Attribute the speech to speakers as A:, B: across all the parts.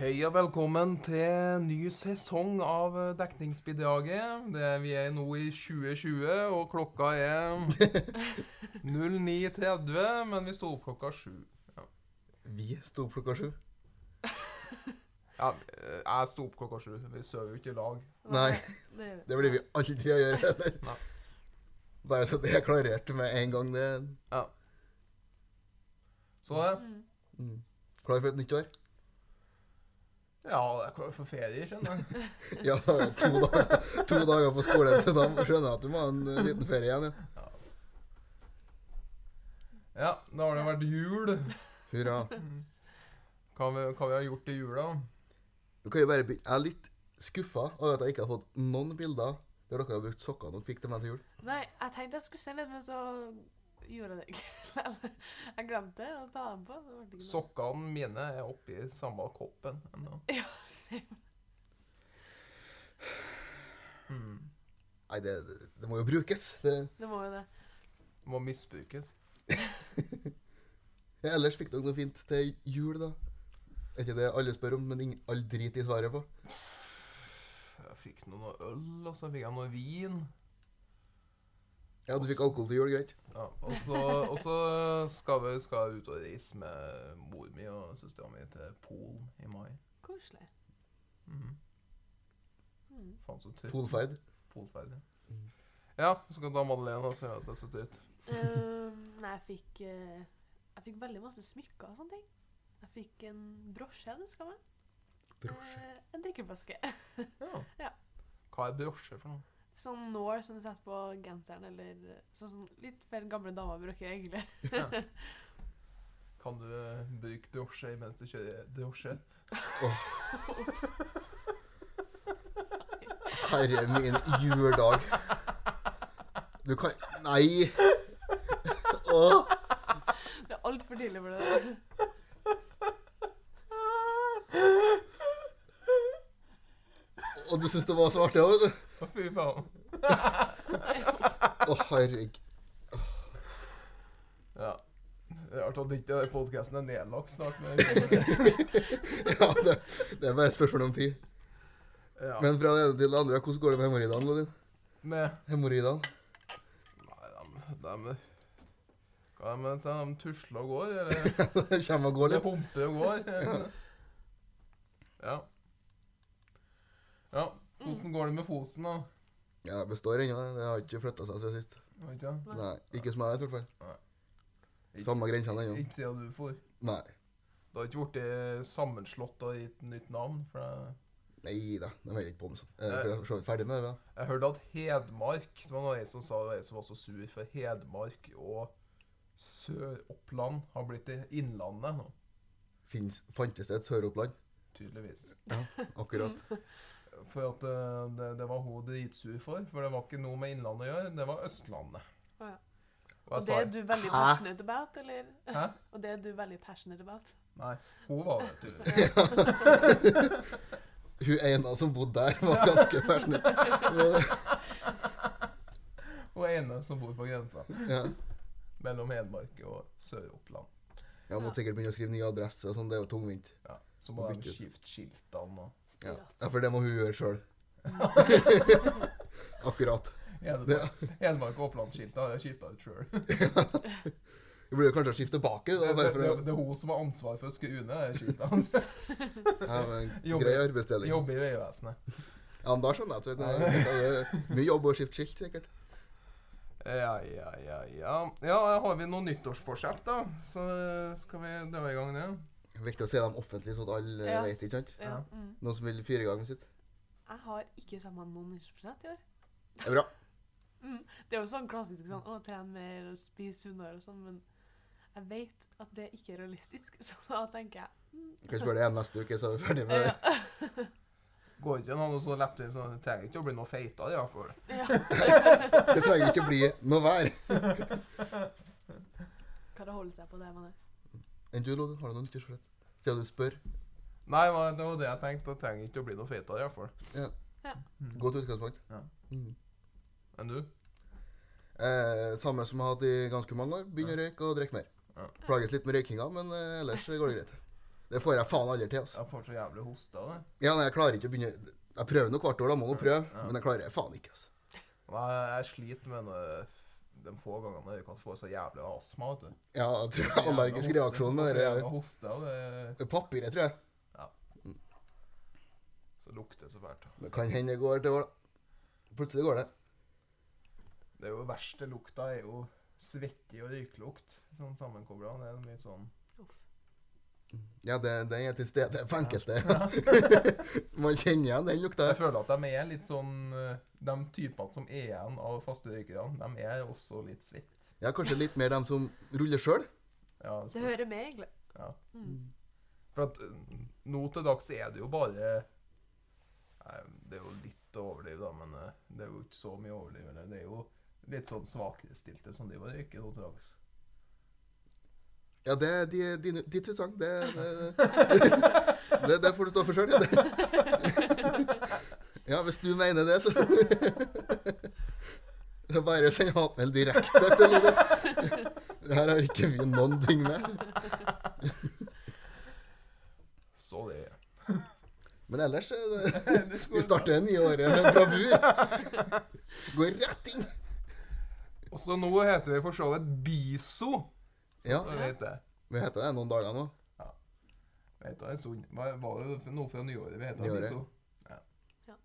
A: Hei og velkommen til ny sesong av eh, Dekningsbidraget. Det er- Vi er nå i 2020, og klokka er 09.30, men vi sto opp klokka sju.
B: Vi sto opp klokka sju.
A: Ja, eh, jeg sto opp klokka sju. Vi sover jo ikke i lag.
B: Nei.
C: Det, gjør
B: Det blir vi aldri å gjøre. heller.
A: Nei.
B: Bare så det er klarert med en gang. det
A: Så det
C: Mm.
B: mm. Klar for et nytt år?
A: Ja, jeg er klar for ferie, skjønner jeg.
B: Ja, da er det to dager, to dager på skolen, så da skjønner jeg at du må ha en eh, liten ferie igjen. ja.
A: Ja, da har det vært jul.
B: Hurra.
A: Hva vi, hva vi har gjort i jula?
B: Du kan jo bare begynne. Jeg er litt skuffa over at jeg ikke har fått noen bilder der dere har brukt sokkene dere fikk til meg til jul.
C: Nei, jeg tenkte jeg skulle se litt, men så gjorde jeg det ikke. jeg glemte å ta den på. så ble det ikke noe.
A: Sokkene mine er oppi samme koppen ennå.
C: Ja, same.
A: Mm.
B: Nei, det, det må jo brukes. Det,
C: Det må jo det.
A: Må misbrukes.
B: ja, ellers fikk dere noe fint til jul, da. Er ikke det alle spør om, men ingen, all drit i svaret på.
A: Jeg fikk nå noe øl, og så fikk jeg noe vin.
B: Ja, du fikk alkohol til jul, greit.
A: Ja, og så, og så skal vi skal jeg ut og reise med mor mi og søstera mi til Polen i mai.
C: Koselig.
A: Mhm.
C: Mm.
A: Faen så tøft.
B: Polferd.
A: Polferd, ja. Ja, så skal ta Madeleine og si at jeg sitter ut.
C: Ehm, nei, jeg fikk, eh, jeg fikk veldig masse smykker og sånne ting. Jeg fikk en brosje, jeg husker jeg.
B: Brosje.
C: Eh, en drikkeflaske.
A: Ja.
C: Ja.
A: Hva er brosje for noe?
C: Sånn nål som du setter på genseren, eller eh, sånn, som litt flere gamle damer bruker egentlig.
A: Kan du eh, bruke brosje mens du kjører drosje?
B: Herre min juledag. Du kan Nei! Åh,
C: Det er altfor tidlig for det. der.
B: og du syns det var så artig òg?
A: Å, fy faen.
B: Å, herregud.
A: Ja. Rart at ikke podkasten er nedlagt snart. Men
B: Ja, det, det er bare et spørsmål om tid.
A: ja.
B: Men fra det ene til det andre, hvordan går det med hemoroidene? Lodin?
A: Med
B: Hemoroidene?
A: Nei, de, de Hva er det med dem? De tusler og går, eller?
B: Det kommer og går
A: De
B: litt.
A: humper og går? Ja. Ja, Hvordan går det med Fosen, da?
B: Ja, det består ennå. Det har ikke flytta seg siden sist.
A: Vet ikke jeg.
B: Nei, Ikke som jeg vet, i hvert fall.
A: Ikke-
B: Samme grensene ennå.
A: Ikke siden du for.
B: Nei.
A: Det har ikke blitt eh, sammenslått og gitt nytt navn? for jeg...
B: Nei da, de hører ikke på om sånn. Eh, For jeg er for så vidt ferdig med det. da.
A: Jeg hørte at Hedmark Det var noen som sa det var en som var så sur, for Hedmark og Sør-Oppland har blitt i Innlandet nå,
B: Finnes, fantes det et Sør-Oppland?
A: tydeligvis.
B: Akkurat.
A: For at eh, det, det var hun dritsur for, for det var ikke noe med Innlandet å gjøre, det var Østlandet.
C: Å ja.
A: Og jeg
C: Og det
A: sa
C: er du veldig
B: Hæ?
C: passionate about, eller?
A: Hæ?
C: Og det er du veldig passionate about.
A: Nei, hun var det, tydeligvis.
B: Hun ene som bodde der, var ganske fascinert.
A: Hun ene som bor på grensa
B: Ja.
A: mellom Hedmark og Sør-Oppland.
B: Jeg måtte sikkert begynne å skrive ny adresse og sånn, det er jo tungvint.
A: Ja. Så må
B: Og
A: de
B: bygge ut.
A: skifte skiltene og
B: Ja.
C: Stilat.
B: ja, for det må hun gjøre sjøl. Akkurat.
A: Hedmark, Hedmark og Oppland-skiltene har jeg skifta ut sjøl. Det,
B: Vi burde jo kanskje skifte tilbake, da,
A: det,
B: bare for å
A: det er hun som har ansvar for å skru ned de skiltene.
B: ja, men
A: Jobber-
B: grei arbeidsdeling.
A: Jobber i Vegvesenet.
B: Ja, men da skjønner jeg at du vet, det er mye jobb å skifte skilt, sikkert.
A: Ja, ja, ja, ja. Ja, Har vi noe nyttårsforsett, da? Så eh, skal vi dra i gang det.
B: Viktig å se dem offentlig, så at alle
C: Ja.
B: vet, ikke sant?
C: Ja.
A: Ja.
C: Mm.
B: Noen som vil fire ganger sitt?
C: Jeg har ikke sammen noen nyttårsforsett i år.
B: Det er bra.
C: Det er jo sånn klassisk sånn å trene mer og spise sunnere og sånn, men jeg vet at det ikke er realistisk, så da tenker jeg
B: Vi kan spørre deg igjen neste uke, så er vi ferdig med det.
A: Går ikke an å så lettvint sånn. Det trenger ikke å bli noe feitere, iallfall.
B: Det trenger ikke bli noe vær.
C: kan det holde seg på det man er.
B: Enn du, Lodde, har du noen nyttårsforsett? Siden du spør.
A: Nei, hva- det var det jeg tenkte. Det trenger ikke å bli noe feitere, iallfall.
B: Godt utgangspunkt.
A: Ja.
B: Mm.
A: Enn du?
B: Eh, samme som jeg har hatt i ganske mange år. Begynne å røyke og drikke mer.
A: Ja.
B: Plages litt med røykinga, men eh, ellers går det greit. Det får jeg faen aldri til. altså.
A: Jeg får så jævlig hoste av det.
B: Ja, nei, Jeg klarer ikke å begynne Jeg prøver nå hvert år, da må jeg nå prøve.
A: Ja.
B: Men jeg klarer det faen ikke. altså.
A: Nei, jeg sliter med det de få gangene jeg kan få så jævlig astma. vet du.
B: Ja, jeg tror jeg har allergisk
A: Jævla
B: reaksjon med
A: hoste,
B: det
A: jævla
B: der.
A: hoste, og det
B: Det er Papiret, tror jeg.
A: så lukter det så fælt.
B: Det kan hende det går til år, da. Plutselig går det.
A: Det er jo verste lukta er jo svette og røyklukt. Sånn sammenkobla. Det er litt sånn
C: Uff.
B: Ja, det, den er til stede på enkelte. Man kjenner igjen den lukta.
A: Jeg føler at de er litt sånn eh, De typene som er igjen av faste røykerne, de er også litt svette.
B: Ja, Kanskje litt mer dem som ruller sjøl.
A: Ja,
C: Det
A: spør-
C: hører med, egentlig.
A: for at eh, nå til dags er det jo bare Nei, Det er jo litt å overdrive, da, men eh, det er jo ikke så mye å overdrive. eller Det er jo litt sånn svakerestilte som driver og røyker nå til dags.
B: Ja, det er di- din- ditt utsagn. Det, det, det, det får du stå for sjøl. Ja, hvis du mener det, så Det er Bare send hatmeld direkte til det. Det her har ikke vi noen ting med.
A: Så det er
B: Men ellers eh, det,
A: Ellers går
B: Vi
A: det
B: starter det nye året med bravur. Går rett inn.
A: bra. Og så nå heter vi for så vidt Biso.
B: Ja,
A: Det vet jeg.
B: vi heter det noen dager nå.
A: Vi heter det en stund. Hva- Var det for- noe fra nyåret vi heter
B: Nyåret.
A: Biso? Ja.
C: Ja.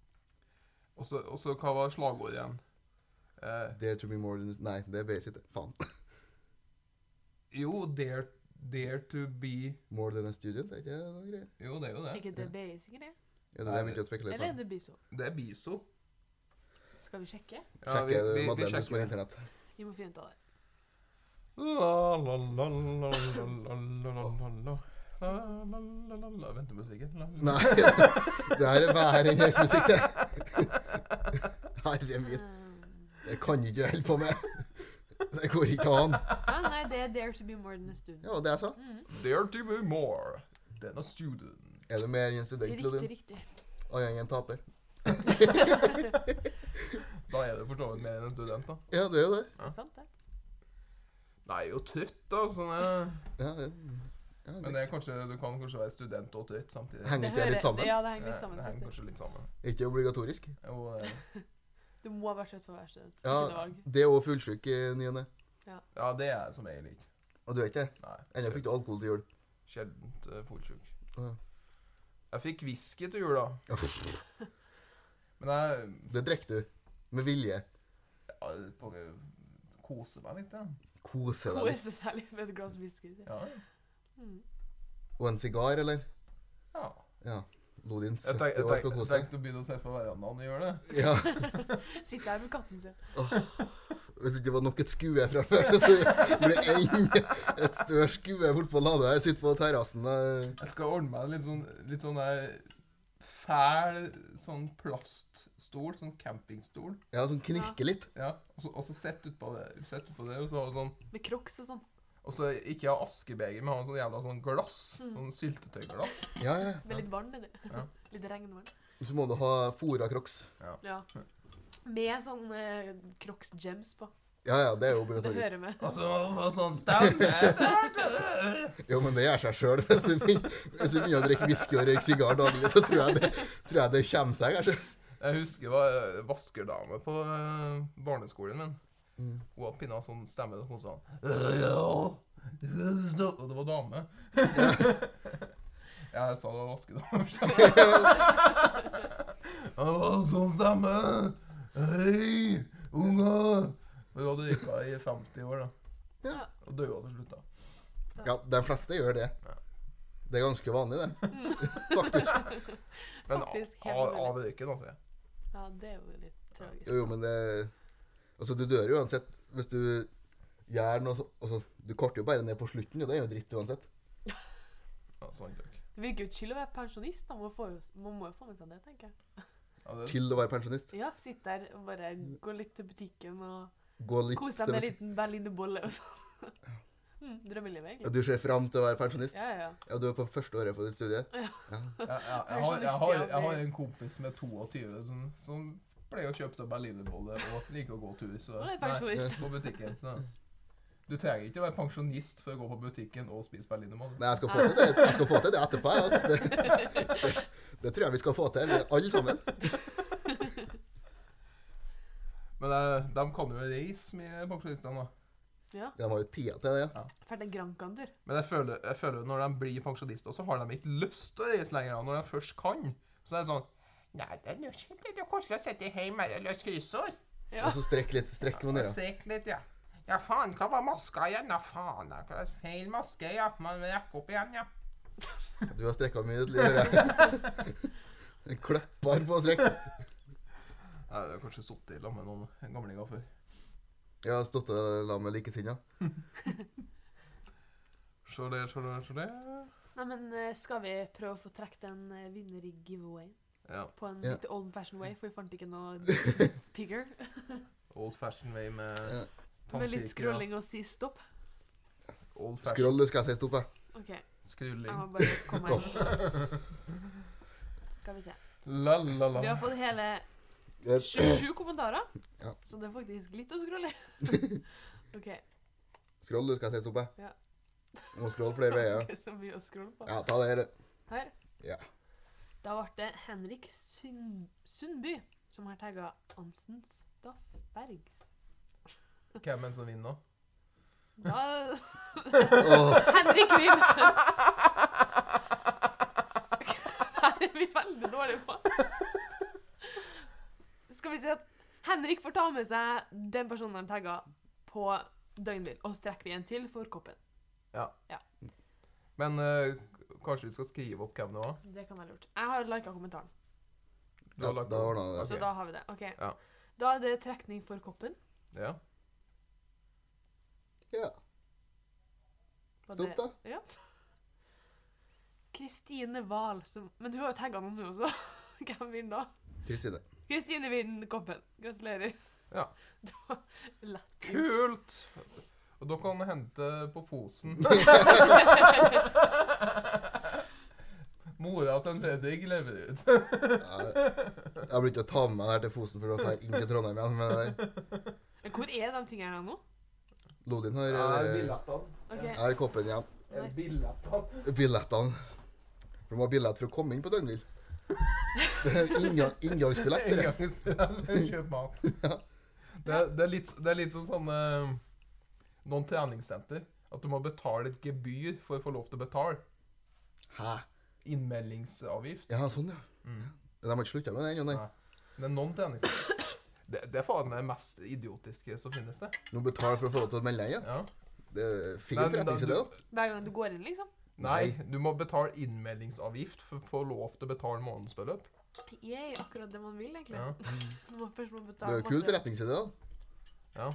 A: Og så og så hva var slagordet igjen? Eh,
B: Dare to be more than Nei, det er basic. Faen.
A: jo, dare, dare to be
B: More than a student, er ikke det noe greier?
A: Jo, det er jo
C: Er
A: det.
C: ikke det basic, det?
B: Ja, det er det vi ikke har spekulert
C: Eller er
B: på.
C: det biso?
A: Det er Biso.
C: Skal vi sjekke?
B: Sjekke Madeleine som har
A: sjekker det.
B: internett.
C: Vi må finne ut av det.
A: La, la, la, la, la, la, la, la, la, la. La, la, la, la, la. Ventemusikken. La, la.
B: Nei, det her er hver en musikk, det. Herre min,
C: Um,
B: det kan ikke jeg holde på med. Det går ikke an.
C: ja, nei, det er Dare to be more Mm. than a student.
B: Ja, det er så.
A: Dare to be more than a student.
B: Er du mer enn en student,
C: Riktig,
B: Lodin?
C: riktig.
B: Og jeg er en taper.
A: Da er det for så vidt mer enn en student, da.
B: Ja, det er jo det.
A: Ja.
C: Sant, det.
A: Nei, jeg er jo trøtt, da. Sånn, jeg...
B: Ja, det. Ja,
A: Men det er kanskje, du kan kanskje være student og trøtt samtidig.
B: Henger ikke det litt sammen?
C: Ja, det henger litt sammen.
A: Det henger
C: sant det.
A: kanskje litt sammen.
B: Er ikke det obligatorisk?
A: Jo, eh,
C: Du må være trøtt for å være student. Ikke
B: Ja,
C: noe valg.
B: det er òg fullsjuk i nyene.
A: ja, det er som jeg liker.
B: Og du er ikke det?
A: Nei,
B: Ennå fikk du alkohol til jul.
A: sjeldent uh, fullsjuk.
B: Ja.
A: Jeg fikk whisky til jul, da.
B: Ja,
A: Men jeg
B: Det drikker du. Med vilje.
A: ja, bare koser meg litt, jeg.
B: Kose deg litt.
C: Kose seg litt med et glass whisky.
A: Ja.
C: Mm.
B: Og en sigar, eller?
A: ja.
B: Ja. Lodin
A: Jeg
B: 70
A: tenk- jeg
B: år
A: tenk-
B: skal
A: jeg
B: kose seg.
A: tenkte å begynne å se på verandaen og gjøre det.
B: Ja.
C: Sitte her med katten sin.
B: Hvis ikke det var nok et skue fra før, så blir det enda et større skue bortpå ladet her. Sitter på terrassen og
A: Jeg skal ordne meg en litt sånn, litt sånn der fæl sånn plaststol, sånn campingstol.
B: ja, sånn knirker litt.
A: Ja, og så, og så sett utpå det, sett ut på det, og så ha sånn
C: Med crocs og sånn.
A: Og så ikke ha askebeger, men ha en sånn jævla sånn glass. Sånn syltetøyglass.
B: Ja, ja.
C: Med litt vann inni.
A: Ja.
C: Litt regnvann.
B: Så må du ha fora crocs.
C: Ja. Med sånn eh, crocs gems på.
B: Ja, ja, det er jo
C: Det
B: obligatorisk.
C: hører med.
A: Og så og sånn stand.
B: Jo, men det gjør seg sjøl. Hvis, du begyn- hvis du begynner å drikke whisky og røyke sigar daglig, så tror jeg det, tror jeg det kommer seg, kanskje.
A: Jeg husker det var vaskerdame på eh, barneskolen min.
B: Mm.
A: Hun hadde pinna sånn stemme, og hun sa «Øh, ja, det er stå-» Og det var dame. Ja, jeg sa det var vaskedame. Det var sånn stemme. Hei, unger. Hun hadde røyka i 50 år, da.
B: Ja.
A: Og døde til slutt, da.
B: Ja, de fleste gjør det. Det er ganske vanlig, det. Faktisk.
A: Men
C: Faktisk, helt
A: av,
C: mulig.
A: av røyken, altså. ja.
C: Ja, det er jo litt tragisk.
B: Jo, jo, men det Altså, du dør jo uansett hvis du gjør noe sånt. Altså, du korter jo bare ned på slutten, jo. Det er jo dritt uansett.
A: Ja, sånn røyk.
C: Det virker jo chill å være pensjonist. da. Man, får jo, man må jo få med seg det, tenker jeg.
A: Ja, det-
B: Til å være pensjonist.
C: Ja, sitte der og bare gå litt til butikken og
B: Gå litt
C: kose deg med en liten berlinerbolle og sånn. Mm, Drømmelivet,
B: Ja,
C: egentlig.
B: du ser fram til å være pensjonist?
C: Ja, ja, ja.
B: Ja, du er på første året på ditt studie?
A: Jeg, jeg, jeg, har, jeg, har, jeg har en kompis med 22 som, som pleier å kjøpe seg berlinerbolle og liker å gå tur så,
C: Han er pensjonist.
A: på butikken. Så. Du trenger ikke å være pensjonist for å gå på butikken og spise berlinermann.
B: Nei, jeg skal få til det, jeg skal få til det etterpå. jeg, Altså. Det, det, det tror jeg vi skal få til, vi alle sammen.
A: Men eh, de kan jo reise med pensjonistene, da.
C: Ja.
B: De har jo tid til det. ja.
C: Ferd til Grankan-tur.
A: Men jeg føler, jeg føler når de blir pensjonister, så har de ikke lyst til å reise lenger. da, Når de først kan. Så er det sånn Nei, det er nå ikke det er jo koselig å sitte hjemme og løse kryssord.
C: Ja.
B: Og så strekk litt. Strekk med ned.
A: Stek litt, ja. Ja, faen, hva var maska igjen? Ja, faen, det er feil maske, ja. Man må rekke opp igjen, ja.
B: Du har strekka mye i ditt liv, hører jeg. Kløpper på strekk.
A: Jeg har kanskje sittet i lag med noen gamlinger før.
B: Jeg har stått sammen med likesinnede.
A: Se det, se det, se det.
C: Nei, men eh, skal vi prøve å få trukket en eh, vinner i giveawayen?
A: Ja.
C: På en
B: Ja.
C: litt old fashion way, for vi fant ikke noe pigger.
A: Old fashion way med
B: Ja.
C: Med litt
A: tannpirker, ja.
C: scrolling og si stopp.
A: Old fashion.
B: Skroll, skal jeg si stopp, jeg.
C: OK, jeg
A: Skrulling.
C: må bare komme meg inn. Skal vi se.
A: La, la,
C: Vi
A: la.
C: har fått hele
B: Det er-
C: 27 kommentarer,
B: Ja.
C: så det er faktisk litt å scrolle. OK.
B: Skroll, skal jeg si stopp,
C: Ja.
B: jeg. Må scroll flere veier.
C: Ikke så mye å scrolle på.
B: Ja, ta det her.
C: Her.
B: Ja.
C: Da ble det Henrik Sund Sundby som har tagga Ansen Staffberg.
A: Hvem er det som vinner?
C: Da
B: Åh,
C: Henrik vinner! Det her er vi veldig dårlige på. Skal vi si at Henrik får ta med seg den personen han tagga, på døgnbil. Og så trekker vi en til for koppen.
A: Men eh, kanskje vi skal skrive opp hvem det var?
C: Det kan være lurt. Jeg har lika kommentaren,
A: Du har
B: Ja,
A: lagt
B: da
A: opp.
B: ordna vi det.
C: så
A: Ok.
C: da har vi det. Ok.
A: Ja.
C: Da er det trekning for koppen.
A: Ja.
B: Ja.
C: Var
B: Stopp,
C: det- Ja. Kristine Wahl som Men hun har jo tagga noen, hun også. Hvem vinner da?
B: Kristine.
C: Kristine vinner koppen. Gratulerer.
A: Ja.
C: Det var lett. gjort.
A: Kult! Og da kan du hente på Fosen. Mora til en Fredrik lever ut.
B: Ja, Jeg blir ikke å ta med meg det her til Fosen for å dra inn til Trondheim igjen. Men det der.
C: Men Hvor er de tingene her nå?
B: Lodin har
A: Er
B: eh,
A: billettene.
C: Ok,
B: her er koppen igjen.
A: Er
C: nice.
A: billettene.
B: Billettene. For Du må ha billett for å komme inn på Døgnvill. Det er inngang- Inngangsbillett.
A: En
B: det er.
A: gang skal jeg kjøpe mat. Det, er- det, er litt, det er litt sånn sånn eh, Noen treningssenter. At du må betale et gebyr for å få lov til å betale.
B: Hæ?
A: Innmeldingsavgift.
B: Ja, sånn, ja. De har ikke slutta med det ennå, nei.
A: Nei. Det er noen treningssenter. Det, det er faen meg det mest idiotiske som finnes, det.
B: Du må betale for å få lov til å melde deg inn. ja.
A: Ja.
B: Det er fin
A: Men da-
B: forretningsidé,
A: du-
B: da.
C: Hver gang du går inn, liksom?
A: Nei, du må betale innmeldingsavgift for å få lov til å betale månedsbeløp.
C: Yay, akkurat det man vil, egentlig.
A: Ja.
C: Når man først må
B: Det er
C: betale
B: jo kul
C: masse.
B: forretningsidé, da.
A: Ja,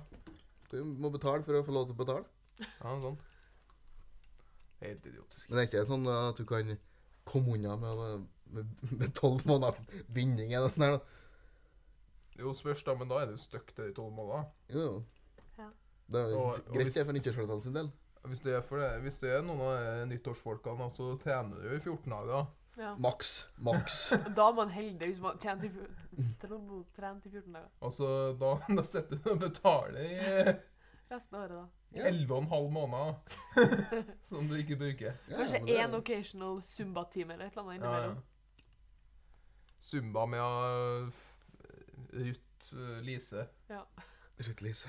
B: Du må betale for å få lov til å betale.
A: ja sånn. Helt idiotisk.
B: Men det er ikke sånn at du kan komme unna med med- med tolv måneder binding eller sånn her, da.
A: Jo, spørs da, men da er du stuck til de tolv månedene.
B: Jo, jo.
C: Ja.
B: Det er jo
A: Og- og
B: greit
A: hvis-
B: det for nyttårsforretningen sin del.
A: Hvis du er, for det, hvis du er noen av de nyttårsfolkene, da, så trener du jo i 14 dager.
C: Ja.
B: Maks. Maks.
C: Og da er man heldig hvis man tjener til fjor- tro- trent i 14 dager.
A: Og så Altså, da, da setter du og betaler i
C: Resten av året, da.
B: Ja.
A: 11,5 måneder. Som du ikke bruker.
B: Ja,
C: Kanskje
B: men det er-
C: én occasional Zumba-time eller et eller annet
A: Ja,
C: innimellom.
A: ja. Zumba med eh, Ruth eh, Lise.
B: Slutt, Lise.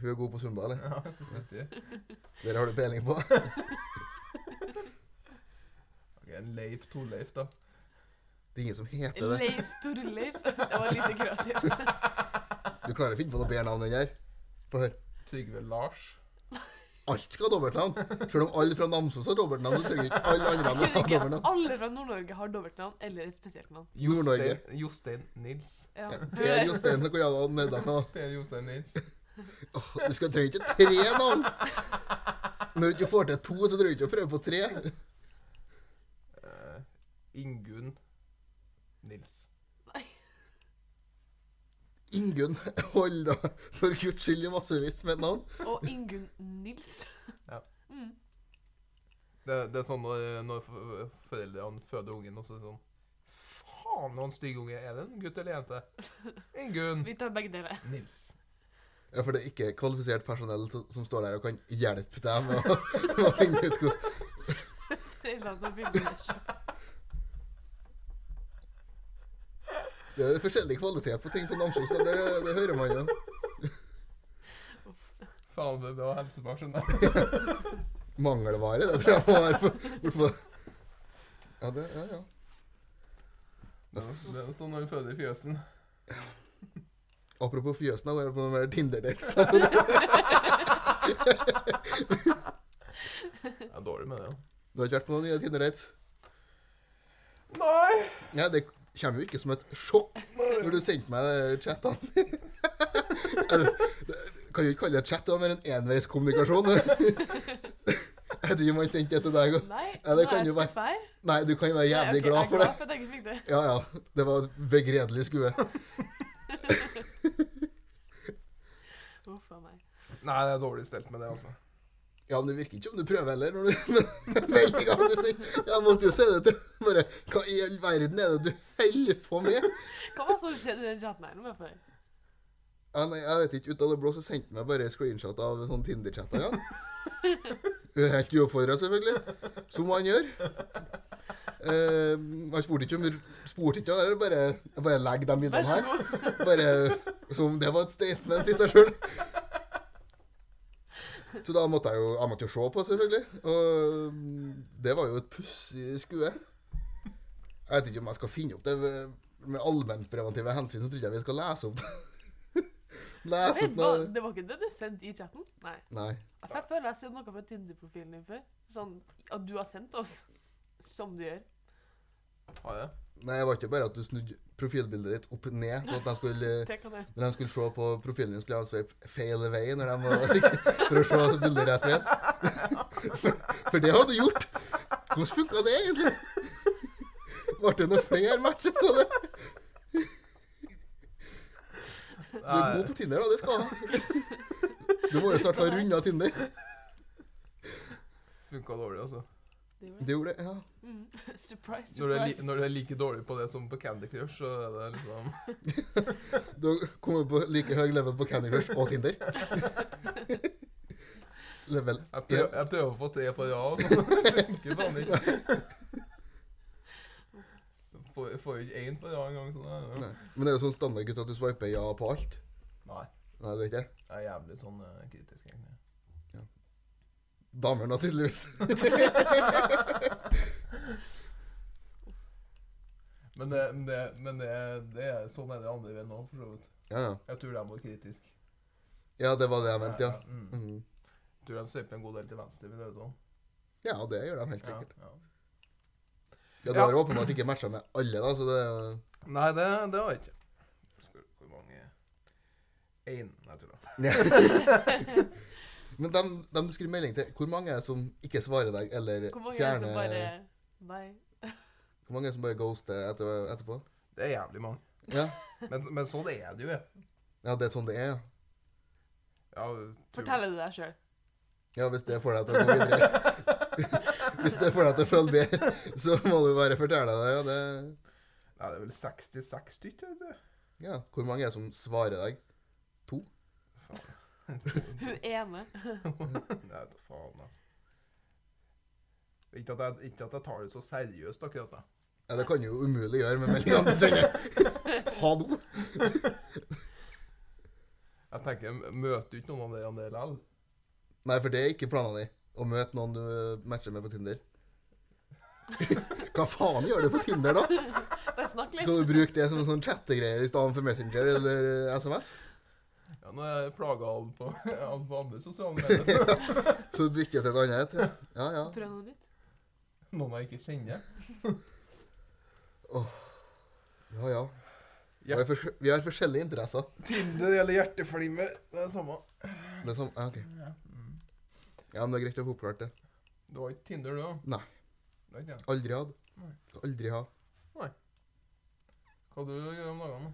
B: Hun er god på Zumba, eller?
A: Ja, riktig.
B: Dere har du peiling på?
A: Ok, en Leif Torleif, da.
B: Det er ingen som heter det.
C: Leif Torleif. Det var lite kreativt.
B: Du klarer å finne på noe bedre navn enn det her. Få høre.
A: Trygve Lars.
B: Alt skal ha dobbeltnavn. Selv om alle fra Namsos har dobbeltnavn, så trenger ikke alle andre
C: Kunne
B: navn å ha
C: ikke
B: dobbeltnavn.
C: alle fra Nord-Norge har dobbeltnavn eller et spesielt navn?
A: Jostein,
B: Nord-Norge.
A: Jostein Nils.
C: Ja.
B: Per Jostein og Kojana Nedang.
A: Per Jostein Nils.
B: Åh, Du skal trenger ikke tre navn. Når du ikke får til to, så trenger du ikke å prøve på tre.
A: Eh, Ingunn Nils.
B: Ingunn hold da for guds skyld i massevis med et navn.
C: Og Ingunn Nils.
A: Ja.
C: Mm.
A: Det, det er sånn når, når f- foreldrene føder ungen, og så er det sånn Faen, noen stygge unge er det? en Gutt eller jente? Ingunn
C: Vi tar begge deler.
A: Nils.
B: Ja, for det er ikke kvalifisert personell som, som står der og kan hjelpe deg med å, med å finne ut hvordan
C: Foreldrene som begynner å kjøpe.
B: Det er forskjellig kvalitet på ting på Namsos, og det, det hører man jo.
C: Uff.
A: Faen, det, det var helsepersonell.
B: Mangelvare, det tror jeg må være på, bort på. Ja, det, ja, ja.
A: Ja, det er sånn når du føder i fjøsen.
B: Apropos fjøsen, da går jeg på noen mer Tinder-dates. da.
A: Jeg er dårlig med det, ja.
B: Du har ikke vært på noen nye Tinder-dates?
A: Nei!
B: Nei, det kommer jo ikke som et sjokk når du sendte meg de chattene. Eller, det- kan jo ikke kalle det chat, det var mer en enveiskommunikasjon. Jeg tror ikke man sendte det til deg. og-
C: Nei,
B: Ja,
C: nå
B: det
C: er
B: kan
C: jeg
B: jo være-
C: skuffa her.
B: Nei, du kan jo være
C: Nei,
B: jævlig
C: ok,
B: glad for det.
C: Jeg er glad for at jeg ikke fikk det.
B: Ja, ja. Det var et begredelig skue.
C: Uff a meg.
A: Nei, det er dårlig stelt med det, altså.
B: Ja, men det virker ikke som du prøver heller. Når du, med en gang du sier Jeg måtte jo si det til bare, Hva i all verden er det du holder på med?
C: Hva var det som skjedde i den chatten her? Nå må jeg få høre.
B: Ja, nei, jeg vet ikke. Ut av det blå så sendte han meg bare screenshot av sånn sånne Tinder-chatter. Ja. Helt uoppfordra, selvfølgelig. Som han gjør. Eh, han spurte ikke om spurte ikke, han bare, jeg bare legg de
C: Vær
B: bildene
C: så
B: her.
C: god.
B: Bare som om det var et statement i seg sjøl. Så da måtte jeg jo, jeg måtte jo se på, selvfølgelig. Og det var jo et pussig skue. Jeg vet ikke om jeg skal finne opp det. Med allmennpreventive hensyn så tror jeg ikke vi skal lese opp Lese
C: Vent,
B: opp
C: hva-
B: noe
C: Det var ikke det du sendte i chatten? Nei.
B: Nei.
C: Jeg føler jeg har sett noe fra Tinder-profilen din før. Sånn at du har sendt oss. Som du gjør.
A: Har jeg?
B: Nei, det var ikke bare at du snudde profilbildet ditt opp ned, så at de skulle
C: Det kan jeg.
B: Når de skulle se på profilen din, skulle de sveipe feil vei når de var, for å se at bildet rett ved. For, for det hadde du gjort. Hvordan funka det egentlig? Ble det noen flere matcher, så det? Du er god
A: Nei,
B: på Tinder, da. Det skal du ha. Du må jo snart ha runda Tinder.
A: funka dårlig, altså.
C: Det gjorde jeg.
B: Det gjorde det, ja.
C: Mm. Surprise,
A: Når du, er li
C: surprise.
A: når du er like dårlig på det som på Candy Crush, så er det liksom
B: Du kommer på like høy level på Candy Crush og Tinder. Level
A: Jeg prøver,
B: 1.
A: jeg prøver å få tre på rad, men det funker faen ikke. Får får jo ikke én på rad engang. Sånn er det.
B: Nei. Men det er jo sånn standardgutt at du sveiper ja på alt.
A: Nei.
B: Nei, det er ikke det.
A: Jeg er jævlig sånn eh, kritisk, egentlig.
B: Damer, naturligvis.
A: Men, det, men, det, men det, det er sånn er det andre veien òg, for så vidt.
B: Ja, ja.
A: Jeg tror de var kritiske.
B: Ja, det var det jeg mente, ja.
A: Mm.
B: Mhm.
A: Jeg tror de sveiper en god del til venstre. Vil det være sånn.
B: Ja, det gjør de helt sikkert.
A: Ja, ja.
B: Ja, Det
A: Ja.
B: har åpenbart ikke matcha med alle, da, så det
A: Nei, det, det var jeg ikke. Skal, hvor mange Én, jeg tror det.
B: Men dem, dem du skriver melding til, hvor mange er det som ikke svarer deg, eller
C: Hvor mange er det
B: fjerner
C: som bare Nei.
B: Hvor mange er det som bare ghoster etter, etterpå?
A: Det er jævlig mange.
B: Ja.
A: Men, men sånn er det jo. jeg.
B: ja, det er sånn det er, ja.
A: Ja, jeg tror-
C: Forteller du deg sjøl?
B: Ja, Hvis det får deg til å gå videre. hvis det får deg til å føle bedre, så må du bare fortelle deg ja, det.
A: Nei, det er vel 66 stykker, vet du.
B: Ja, Hvor mange er det som svarer deg?
C: Hun ene.
A: Nei, da faen, altså. Ikke at, jeg, ikke at jeg tar det så seriøst, akkurat. da.
B: Ja, Det kan du jo umulig gjøre med meldingene du sender. Hallo!
A: Jeg tenker, jeg Møter ikke noen av dere om det likevel?
B: Nei, for det er ikke planen din. Å møte noen du matcher med på Tinder. Hva faen gjør du på Tinder, da?
C: Bare snakk litt.
B: Skal du bruke det som en sånn chattegreier i stedet for Messenger eller eh, SMS?
A: Ja, nå er jeg plaga av på, av på andre sosiale medier.
B: Så du bytter til et annet? ja. Ja, ja.
C: Prøv noe nytt.
A: Noen jeg ikke kjenner.
B: ja, ja. Vi har fors- Vi har forskjellige interesser.
A: Tinder eller hjerteflimmer, det er det samme.
B: Det er som, ja, ok. ja, men det er greit å få oppklart det.
A: Du har ikke Tinder, du? da?
B: Nei.
A: Det har ikke jeg.
B: Aldri hatt.
A: Nei.
B: Skal Aldri ha.
A: Hva du gjør om dagene?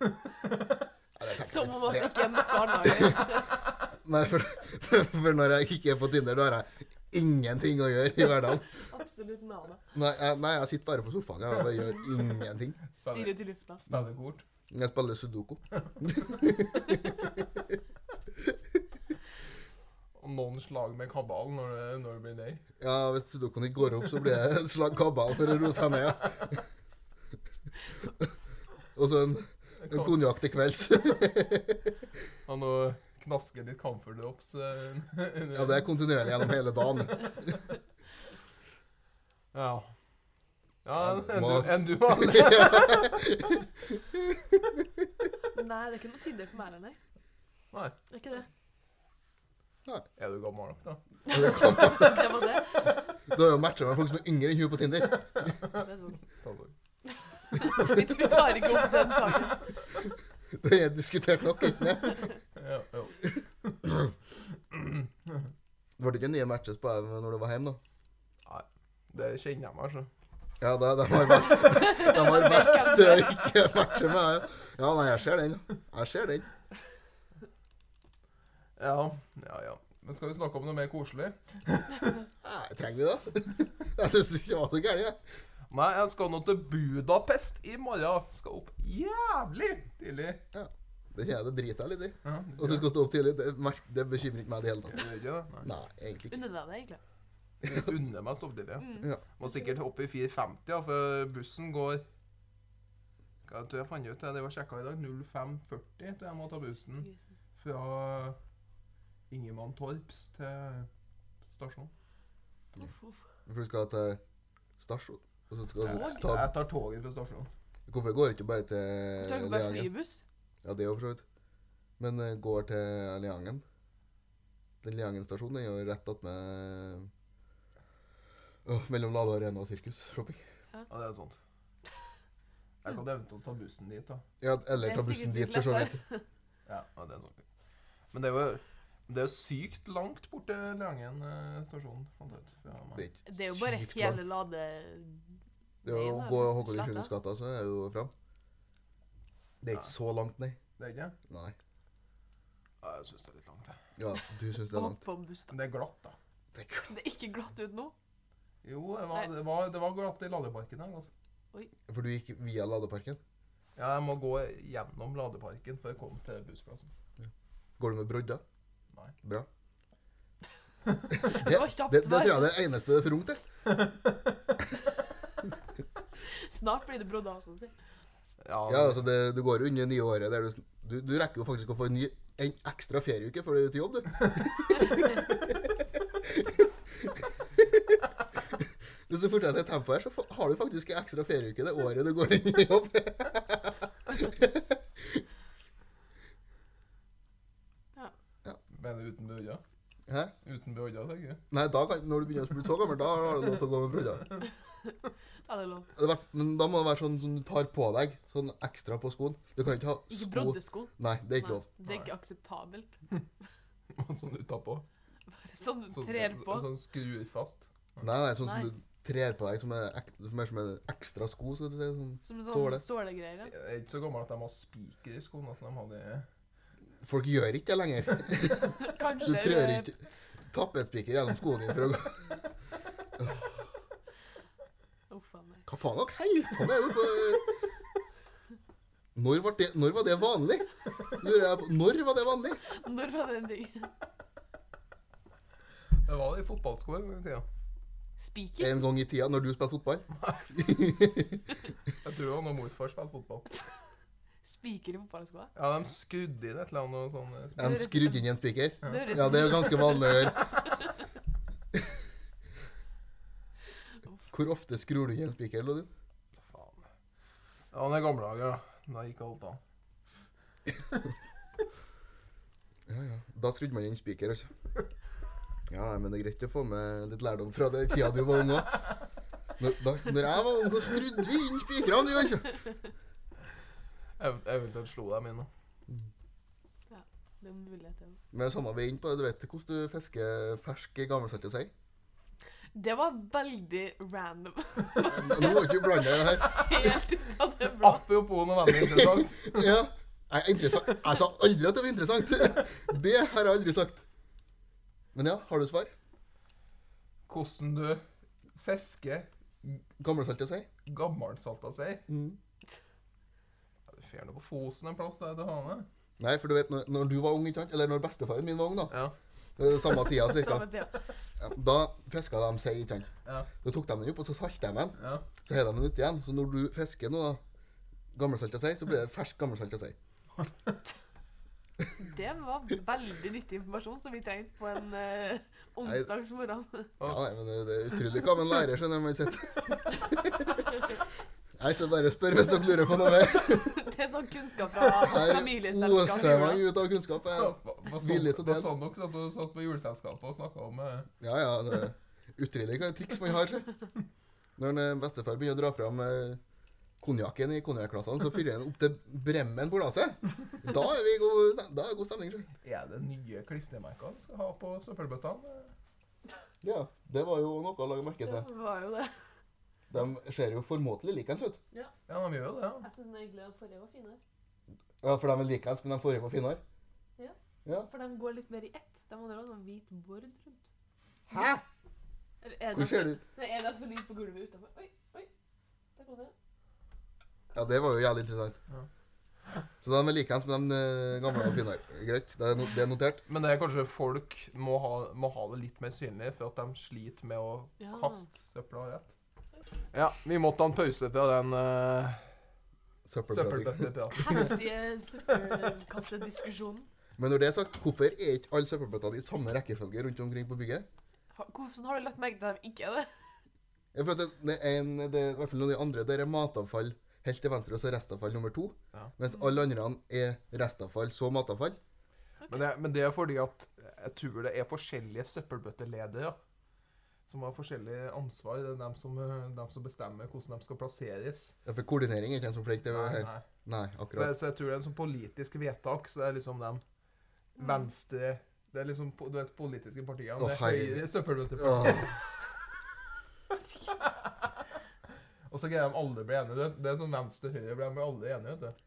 B: Ja, det tenker jeg
C: Som
B: ikke.
C: om at det
B: Det-
C: ikke er nok barnehager.
B: Nei, for, for når jeg ikke er på Tinder, da har jeg ingenting å gjøre i hverdagen.
C: Absolutt nada.
B: Nei, jeg, nei, jeg sitter bare på sofaen jeg, og bare gjør ingenting.
A: Spiller-
C: Stirre ut i lufta.
A: Spiller kort.
B: Jeg spiller sudoku.
A: Og noen slag med kabal når det, når det blir nei.
B: Ja, Hvis sudokuen ikke går opp, så blir det et slag kabal for å roe seg ned. ja. Og så en, en konjakk til kvelds.
A: Han og knasker litt camphor drops. eh, under-
B: Ja, det er kontinuerlig gjennom hele dagen.
A: Ja. Ja,
B: Ja, det
A: enn
B: må-
A: du, enn du har
C: Nei, det er ikke noe Tinder for meg heller, nei.
A: Nei.
C: Det er ikke det.
A: Er du gammel nok, da?
C: Det var det.
B: Du har jo matcha med folk som er yngre enn hun på Tinder.
C: det er sånn.
A: Sånn.
C: Vi vi tar ikke opp den saken.
B: Det er diskutert nok. ikke det?
A: Ja, jo.
B: Det ble ikke nye matches på deg når du var hjemme, da?
A: Det kjenner jeg meg, så.
B: Ja, det, de har vært, de har vært det er ikke matcher med deg. Ja, nei, jeg ser den. ja. Jeg ser den.
A: Ja, ja, ja. Men skal vi snakke om noe mer koselig?
B: Nei, trenger vi det? Jeg syns det ikke var så gærent, jeg.
A: Nei, jeg skal nå til Budapest i morgen. Skal opp jævlig tidlig.
B: Det kjenner jeg det driter jeg litt i.
A: Ja,
B: At du skal stå opp tidlig, det, merk, det bekymrer ikke meg i det
A: Ja,
B: hele tatt.
A: det er ikke det? Nei.
B: Nei, egentlig ikke.
C: Unne deg det, egentlig.
A: Unner meg å stå opp tidlig.
C: Mm.
B: Ja.
A: Må sikkert opp i 4.50, ja, for bussen går Hva tror jeg fant ut det? Det var sjekka i dag. 05.40 tror jeg må ta bussen
B: Mm.
A: fra Ingemann Torps til stasjonen.
C: Uff, uff.
B: For du skal til stasjon. Og så skal
A: Jeg
B: du ta
A: jeg tar toget fra stasjonen.
B: Hvorfor går Eh, det ikke bare
C: Du
B: til
C: tar ikke bare
B: Leangen?
C: flybuss?
B: Ja, det er jo for så vidt. Men eh, går til Leangen. Den Leangen stasjonen er jo rett attmed Åh, Mellom Lade Arena og Sirkus Shopping.
A: Ja, det er sant. Jeg kan eventuelt ta bussen dit, da.
B: Ja, eller
C: Det er
B: ta bussen
C: sikkert
B: dit,
C: litt
B: for så vidt.
C: lettere.
A: Ja, ja, det er sånn. Men det er jo det er jo sykt langt bort til Leangen eh, stasjon. fant jeg ut. fra meg.
B: Det er, ikke
C: Det er jo bare
B: sykt
C: hele
B: langt.
C: lade...
B: Det er jo
C: veien,
B: å
C: da,
B: gå
C: hvis du
B: Håkon
C: slapper av.
B: Sjønes gata, så er det jo fram. Det er ikke så langt, nei.
A: Det er ikke det?
B: Nei.
A: Ja, jeg syns det er litt langt. jeg.
B: Ja, du syns det er langt.
C: Hoppe om buss, da.
A: Men det er glatt, da.
B: Det er klart.
C: Det er ikke glatt ut nå.
A: Jo, det var, det var, det var glatt i Ladeparken. her, Altså.
B: For du gikk via Ladeparken.
A: Ja, jeg må gå gjennom Ladeparken før jeg kommer til bussplassen.
B: Går du med brodder?
A: Nei.
B: Bra.
C: Det var kjapt
B: Det, det
C: svar.
B: tror jeg er det eneste det er for ungt til.
C: Snart blir det brodda også, si.
B: Ja, altså det, du går jo under nye året der du, sn- du, du rekker jo faktisk å få en, ny, en ekstra ferieuke før du er ute i jobb, du. Hvis du fortsetter i tempoet her, så fa- har du faktisk en ekstra ferieuke det året du går inn i jobb.
A: Mener du uten brødja?
B: Hæ?
A: Uten brødja, tenker jeg.
B: Nei, da kan, når du begynner å bli så gammel, da har du lov til å gå med brodder.
C: Ja, det er lov.
B: Det er hvert- Men da må det være sånn som du tar på deg, sånn ekstra på skoen. Du kan ikke ha
C: Ikke
B: sko
C: broddesko.
B: Nei, det er ikke
C: Nei,
B: lov.
C: Det er ikke akseptabelt.
A: Sånn du tar på.
C: Bare sånn du
A: Sånn,
C: trer på.
A: sånn skrur fast.
B: Nei, nei, sånn
C: Nei.
B: som du trer på deg som er, ek, som er som en ekstra sko, skal du si. Sånn.
C: Som en
B: såle.
C: sånn sålegreier. ja.
A: Jeg er ikke så gammel at de har spiker i skoene. Altså, de hadde...
B: Folk gjør ikke det lenger. Du
C: Kanskje
B: trør
C: eh,
B: ikke tapetspiker gjennom skoen din for å gå
C: Uff a meg.
B: Hva faen dere holder på med? På? Når, var det, når var det vanlig? Lurer jeg på. Når var det vanlig?
C: Når var det en ting?
A: Det var det i fotballsko en gang i tida.
C: Spiker?
B: En gang i tida, når du spilte fotball.
A: Jeg tror han og morfar spilte fotball.
B: Eh.
C: Spiker i fotballskoa?
A: Ja, de skrudde inn et eller annet og sånn. eh,
B: De skrudde inn i en spiker.
C: Det høres
B: Ja, det er jo sånn- ganske vanlig å gjøre.
C: Uff.
B: Hvor ofte skrur du inn i en spiker? Lodin?
A: Faen. Ja, han er gamle dager, da. Da gikk alt an.
B: Ja, ja. Da skrudde man inn spiker, altså. Ja, nei, men det er greit å få med litt lærdom fra den tida du var ung òg. Når, da- når jeg var ung, så skrudde vi inn spikrene, vi, altså.
A: Ev eventuelt slo dem inn. da.
C: Det er mulighet til.
B: Men samme vei inn på det, du vet hvordan du fisker fersk gammelsalt og sei?
C: Det var veldig random.
B: Nå må du ikke blande deg i det her.
C: Helt ut av det
B: Ah,
C: blå.
A: Apropos noe veldig interessant.
B: Ja. Nei, interessant. Jeg sa aldri at det var interessant. Det har jeg aldri sagt. Men ja, har du svar?
A: Hvordan du fisker
B: Gammelsalt og sei?
A: gammelsalta sei.
B: Mm.
A: Ja, Fer nå på Fosen en plass der til Hane.
B: Nei, for du vet, når, når du var ung, ikke sant? eller når bestefaren min var ung, da,
A: Ja.
B: eh, samme tida cirka,
C: Samme tida.
B: ja, da fiska de sei, ikke sant.
A: Ja.
B: Da tok de den opp, og så salta de den.
A: Ja.
B: Så har de den ute igjen. Så når du fisker nå, da, gammelsalta sei, så blir det fersk gammelsalta sei.
C: Den var veldig nyttig informasjon som vi trengte på en eh, onsdagsmorgen.
B: Ja, nei, men det, det er utrolig hva man lærer, skjønner man sitt. Nei, så bare spør hvis dere lurer på noe mer.
C: Det er sånn kunnskap fra
B: Her oser man
C: familieselskapet.
B: ut av kunnskap.
A: Ja,
B: her.
A: hva- Hva sånn,
B: Villig til
A: hva
B: det.
A: sånn dere satt, og- satt på juleselskapet og snakka om eh,
B: Ja, ja, det er utrolig hva triks man har. Se. Når en, eh, bestefar begynner å dra fram eh, konjakken i konjakkklassene, så fyrer han opp til bremmen på glasset. Da er vi i god, stem- da er det god stemning. sjø.
A: Er det nye klistremerker vi skal ha på søppelbøttene?
B: Ja, det var jo noe å lage merke
C: Det
B: til.
C: var jo det.
B: De ser jo formåtelig likens ut.
A: Ja, de gjør jo det. ja.
C: Jeg syns egentlig den forrige var finere.
B: Ja, for de er likens, men de forrige var finere.
C: Ja.
B: Ja.
C: For den går litt mer i ett. Den andre har sånn hvit bord rundt.
B: Hæ?
C: Eller er
B: Hvor
C: den-
B: ser du?
C: Nei, er den solid på gulvet utenfor? Oi, oi. Der kom den.
B: Ja, det var jo jævlig interessant.
A: Ja.
B: Så de er likeens med de eh, gamle og finere. Greit, det er, no det er notert.
A: Men det er kanskje folk må ha, må ha det litt mer synlig for at de sliter med å
C: Ja.
A: kaste søpla rett. Ja, vi måtte ha en pause fra den uh,
B: Søppelpratikk.
A: søppelbøttepraten.
C: Heftige søppelkassediskusjonen.
B: Men når det er sagt, hvorfor er ikke alle søppelbøttene i samme rekkefølge rundt omkring på bygget?
C: Ha- Hvordan har du lagt merke til at de ikke er det?
B: Jeg føler at det, det er en, det er i hvert fall noen av de andre der er matavfall helt til venstre, og så restavfall nummer to.
A: Ja.
B: Mens alle andre er restavfall, så matavfall.
A: Men, det- men det er fordi at jeg tror det er forskjellige søppelbøtteledere som har forskjellig ansvar. Det er dem som, eh, dem som bestemmer hvordan de skal plasseres.
B: Ja, for koordinering er ikke en som flink til
A: Nei,
B: her.
A: nei.
B: Nei,
A: Så, jeg-
B: akkurat.
A: så jeg tror det er en sånn politisk vedtak, så det er liksom dem venstre Det er liksom po- du vet, politiske partier.
B: Å,
A: Det er
B: herregud.
A: høyre søppelbøtteparti.
B: Åh,
A: Og så greier de alle å bli enige. vet du. Det er sånn venstre høyre blir de alle enige. vet du.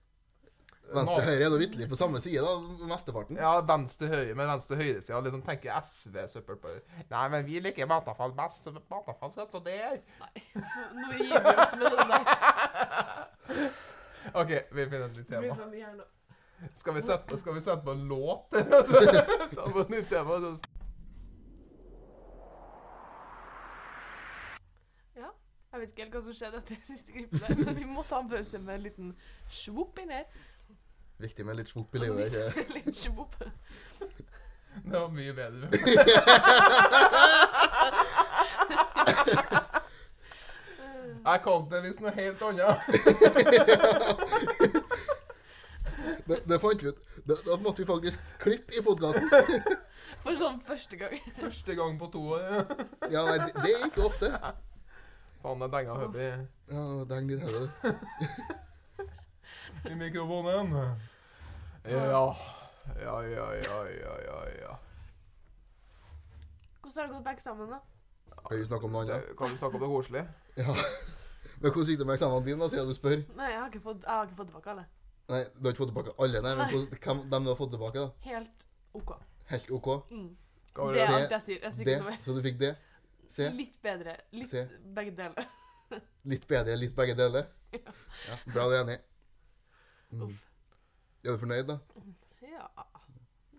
B: venstre og høyre er da vitterlig på samme side, da, mesteparten.
A: Ja, venstre høyre, men venstre høyresida liksom tenker SV-søppel på Nei, men vi liker matavfall best, så matavfall skal stå der.
C: Nå gir vi oss med den der.
A: OK, vi finner et nytt
C: Det blir
A: tema.
C: for mye her nå.
A: Skal vi sette, skal vi sette på en låt? Ta på et nytt tema. så-
C: Jeg vet ikke helt hva som skjedde etter det siste gripet der, men vi må ta en pause med en liten svopp inn her.
B: Viktig med litt svopp i livet. ikke?
C: Litt svopp.
A: Det var mye bedre. Jeg kalte det visst noe helt annet.
B: Det, det fant vi ut. Da, da måtte vi faktisk klippe i podkasten.
C: For sånn første gang.
A: Første gang på to år.
B: Ja, nei, det, det er ikke ofte.
A: Faen, jeg denga hodet i-
B: Ja, deng ditt hode.
A: i mikrofonen. Ja. Ja, ja, ja, ja, ja. ja.
C: Hvordan har det gått på eksamen, da?
B: Kan vi snakke om noe annet?
A: Det- Kan vi snakke om det koselige?
B: Ja. Men hvordan gikk det med eksamenen din, da, siden du spør?
C: Nei, jeg har ikke fått, jeg har ikke fått tilbake alle.
B: Nei, du har ikke fått tilbake alle, nei, men hvordan, hvem, dem du har fått tilbake, da?
C: Helt OK.
B: Helt OK.
C: Mm.
A: Hva var
C: Det
A: det?
C: er
B: se?
C: alt jeg sier. Jeg sier
B: Det,
C: ikke noe mer.
B: så du fikk det. Se.
C: Litt bedre. Litt
B: Se.
C: begge deler.
B: Litt bedre, litt begge deler. Ja, bra, du er enig. Mm.
C: Uff.
B: Er du fornøyd, da?
C: Ja.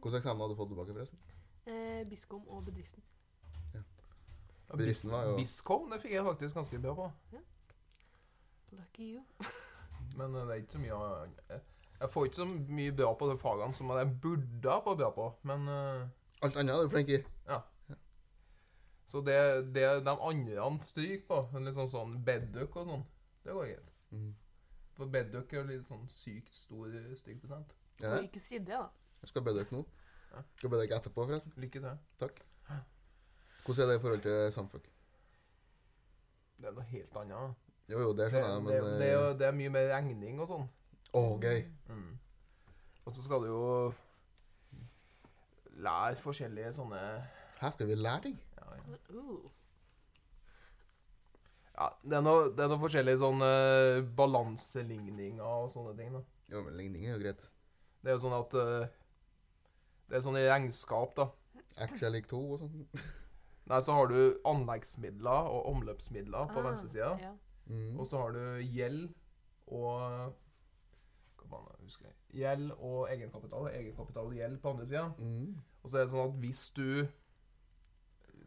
B: Hvordan eksamen hadde du fått tilbake, forresten?
C: Eh, Biskom og bedriften.
B: Bedriften var jo
A: Biscom, det fikk jeg faktisk ganske bra på.
C: Lucky you.
A: Men eh, det er ikke så mye å- eh, Jeg får ikke så mye bra på de fagene som jeg burde ha fått bra på, men eh,
B: Alt annet er du flink i.
A: Så det, det de andre stryker på, en litt sånn sånn bedduck og sånn, det går greit.
B: Mm.
A: For bedduck er jo litt sånn sykt stor stykkprosent.
B: Ja,
C: Og ikke si det, da.
B: jeg skal be dere nå. Skal be dere etterpå, forresten.
A: Lykke til.
B: Takk. Hvordan er det i forhold til samfuck?
A: Det er noe helt annet.
B: Jo, jo, det
A: Det,
B: skjønner jeg,
A: det,
B: men
A: det, er
B: eh,
A: jo- det er mye mer regning og sånn.
B: Å, gøy.
A: Mm. Og så skal du jo lære forskjellige sånne
B: Her skal vi lære ting.
A: ja, ja.
C: Uh.
A: ja, det, er noe, det er noe forskjellige sånne balanseligninger og sånne ting. da.
B: Jo, men ligning er jo greit.
A: Det er jo sånn at eh, Det er sånn i regnskap, da.
B: X er lik 2 og sånn.
A: Nei, så har du anleggsmidler og omløpsmidler på
C: Ah,
A: venstresida.
C: Ja.
B: Mm.
A: Og så har du gjeld og forbanna, husker jeg. Gjeld og egenkapital. Egenkapital og gjeld på andre sida.
B: Mm.
A: Og så er det sånn at hvis du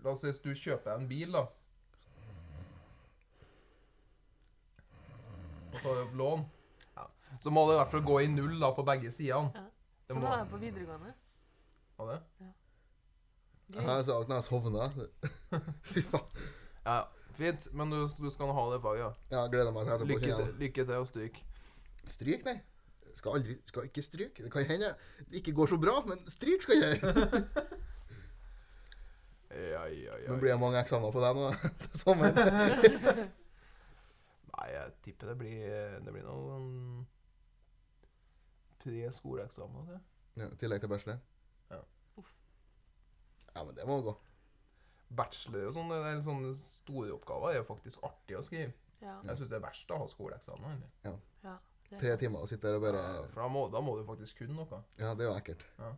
A: La oss si hvis du kjøper en bil, da. Og tar opp lån. Ja. Så må det i hvert fall gå i null da, på begge sidene.
C: Ja.
A: Det
C: Sånn
A: må-
C: var det på videregående.
A: Var det?
C: Gøy.
B: Jeg har sagt når jeg sovna. Fy faen.
A: Ja, fint, men du, du skal nå ha det faget. ja.
B: Ja, gleder meg til etterpå.
A: Lykke
B: kjenner jeg.
A: til, lykke til og stryk.
B: Stryk, nei. Skal aldri Skal ikke stryke. Det kan hende det ikke går så bra, men stryk skal jeg gjøre.
A: Ja, ja, ja.
B: Nå blir det mange eksamener på deg nå til sommeren.
A: Nei, jeg tipper det blir, det blir noe sånn Tre skoleeksamener. det.
B: Ja, I tillegg til bachelor.
A: Ja.
C: Uff.
B: Ja, men det må gå.
A: Bachelor og sånn, det er sånne store oppgaver er jo faktisk artig å skrive.
C: Ja,
A: Jeg syns det er verst å ha skoleeksamener. egentlig.
C: ja. det er
B: Tre
C: sant.
B: timer og sitte der og bare
A: Ja, For da må, da må du faktisk kunne noe.
B: Ja, det er jo ekkelt.
A: Ja.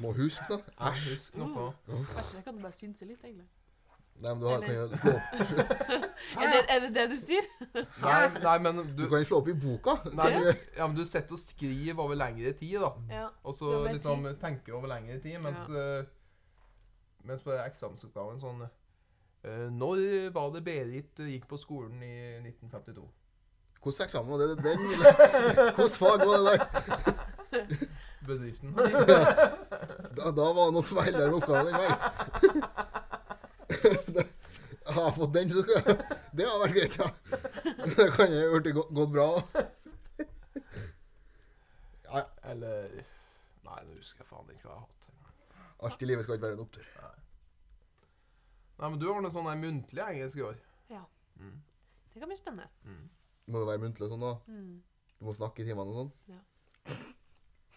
B: Må huske, da. Æsj.
A: Husk noe.
B: Mm.
C: Kanskje jeg kan bare synse litt, egentlig.
B: Nei, men du, har, kan jo slå opp, Ah,
C: Er det, er det det du sier?
A: Nei, nei men
B: du
A: du
B: kan jo slå opp i boka.
A: Nei,
B: Kan du-
A: ja, men du sitter og skriver over lengre tid, da.
C: Ja.
A: Og så
C: Over
A: liksom tenker over lengre tid, mens, eh, mens på eksamensoppgaven sånn eh, Når var det Berit gikk på skolen i 1952?
B: Hvordan eksamen var det? det er den, eller? Hvordan fag var det der?
A: Bedriften.
B: Da, da var det noen feil der med oppgaven den veien. Det- Har jeg fått den, så skal jeg Det har vært greit, ja. Det kan jeg jo ha gått bra òg.
A: Eller Nei, nå husker jeg faen ikke hva jeg har hatt.
B: Alt i livet skal ikke være en opptur.
A: Nei, men du har noe sånn der muntlig engelsk i år.
C: ja.
A: Mm.
C: Det kan bli spennende.
B: Må det være muntlig og sånn, da?
C: Mm.
B: Du må snakke i timene og sånn?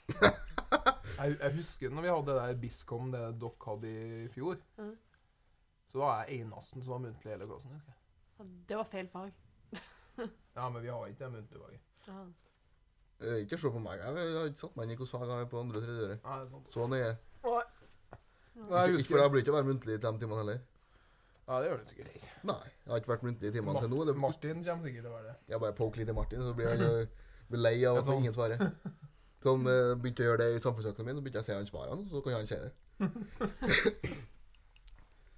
A: Jeg, jeg husker når vi hadde det der Biscom det dere hadde i fjor.
C: Mhm.
A: Så var jeg enasten som var muntlig i hele klassen. husker jeg.
C: Ja, Det var feil fag.
A: Ja, men vi har ikke det muntlige faget.
C: Ja.
B: Eh, Ikke se på meg. Jeg har ikke satt meg inn i hvordan fag jeg er på andre og tredje året.
A: Nei, det er sant.
B: Så nøye.
A: Nei,
B: Ikke,
A: jeg
B: ikke, for
A: husker
B: jeg blir ikke å være muntlig i de timene heller.
A: Ja, det gjør du sikkert ikke.
B: Nei, jeg har ikke vært muntlig i timene til nå.
A: Mar-
B: Det,
A: Martin kommer sikkert til å være det.
B: jeg bare poker litt i Martin, så blir han jo- blir lei av at
A: Ja, sånn.
B: ingen svarer. Så han eh, begynte å gjøre det i samfunnsøkonomien, så begynte jeg å si han svarene, så kan han si det.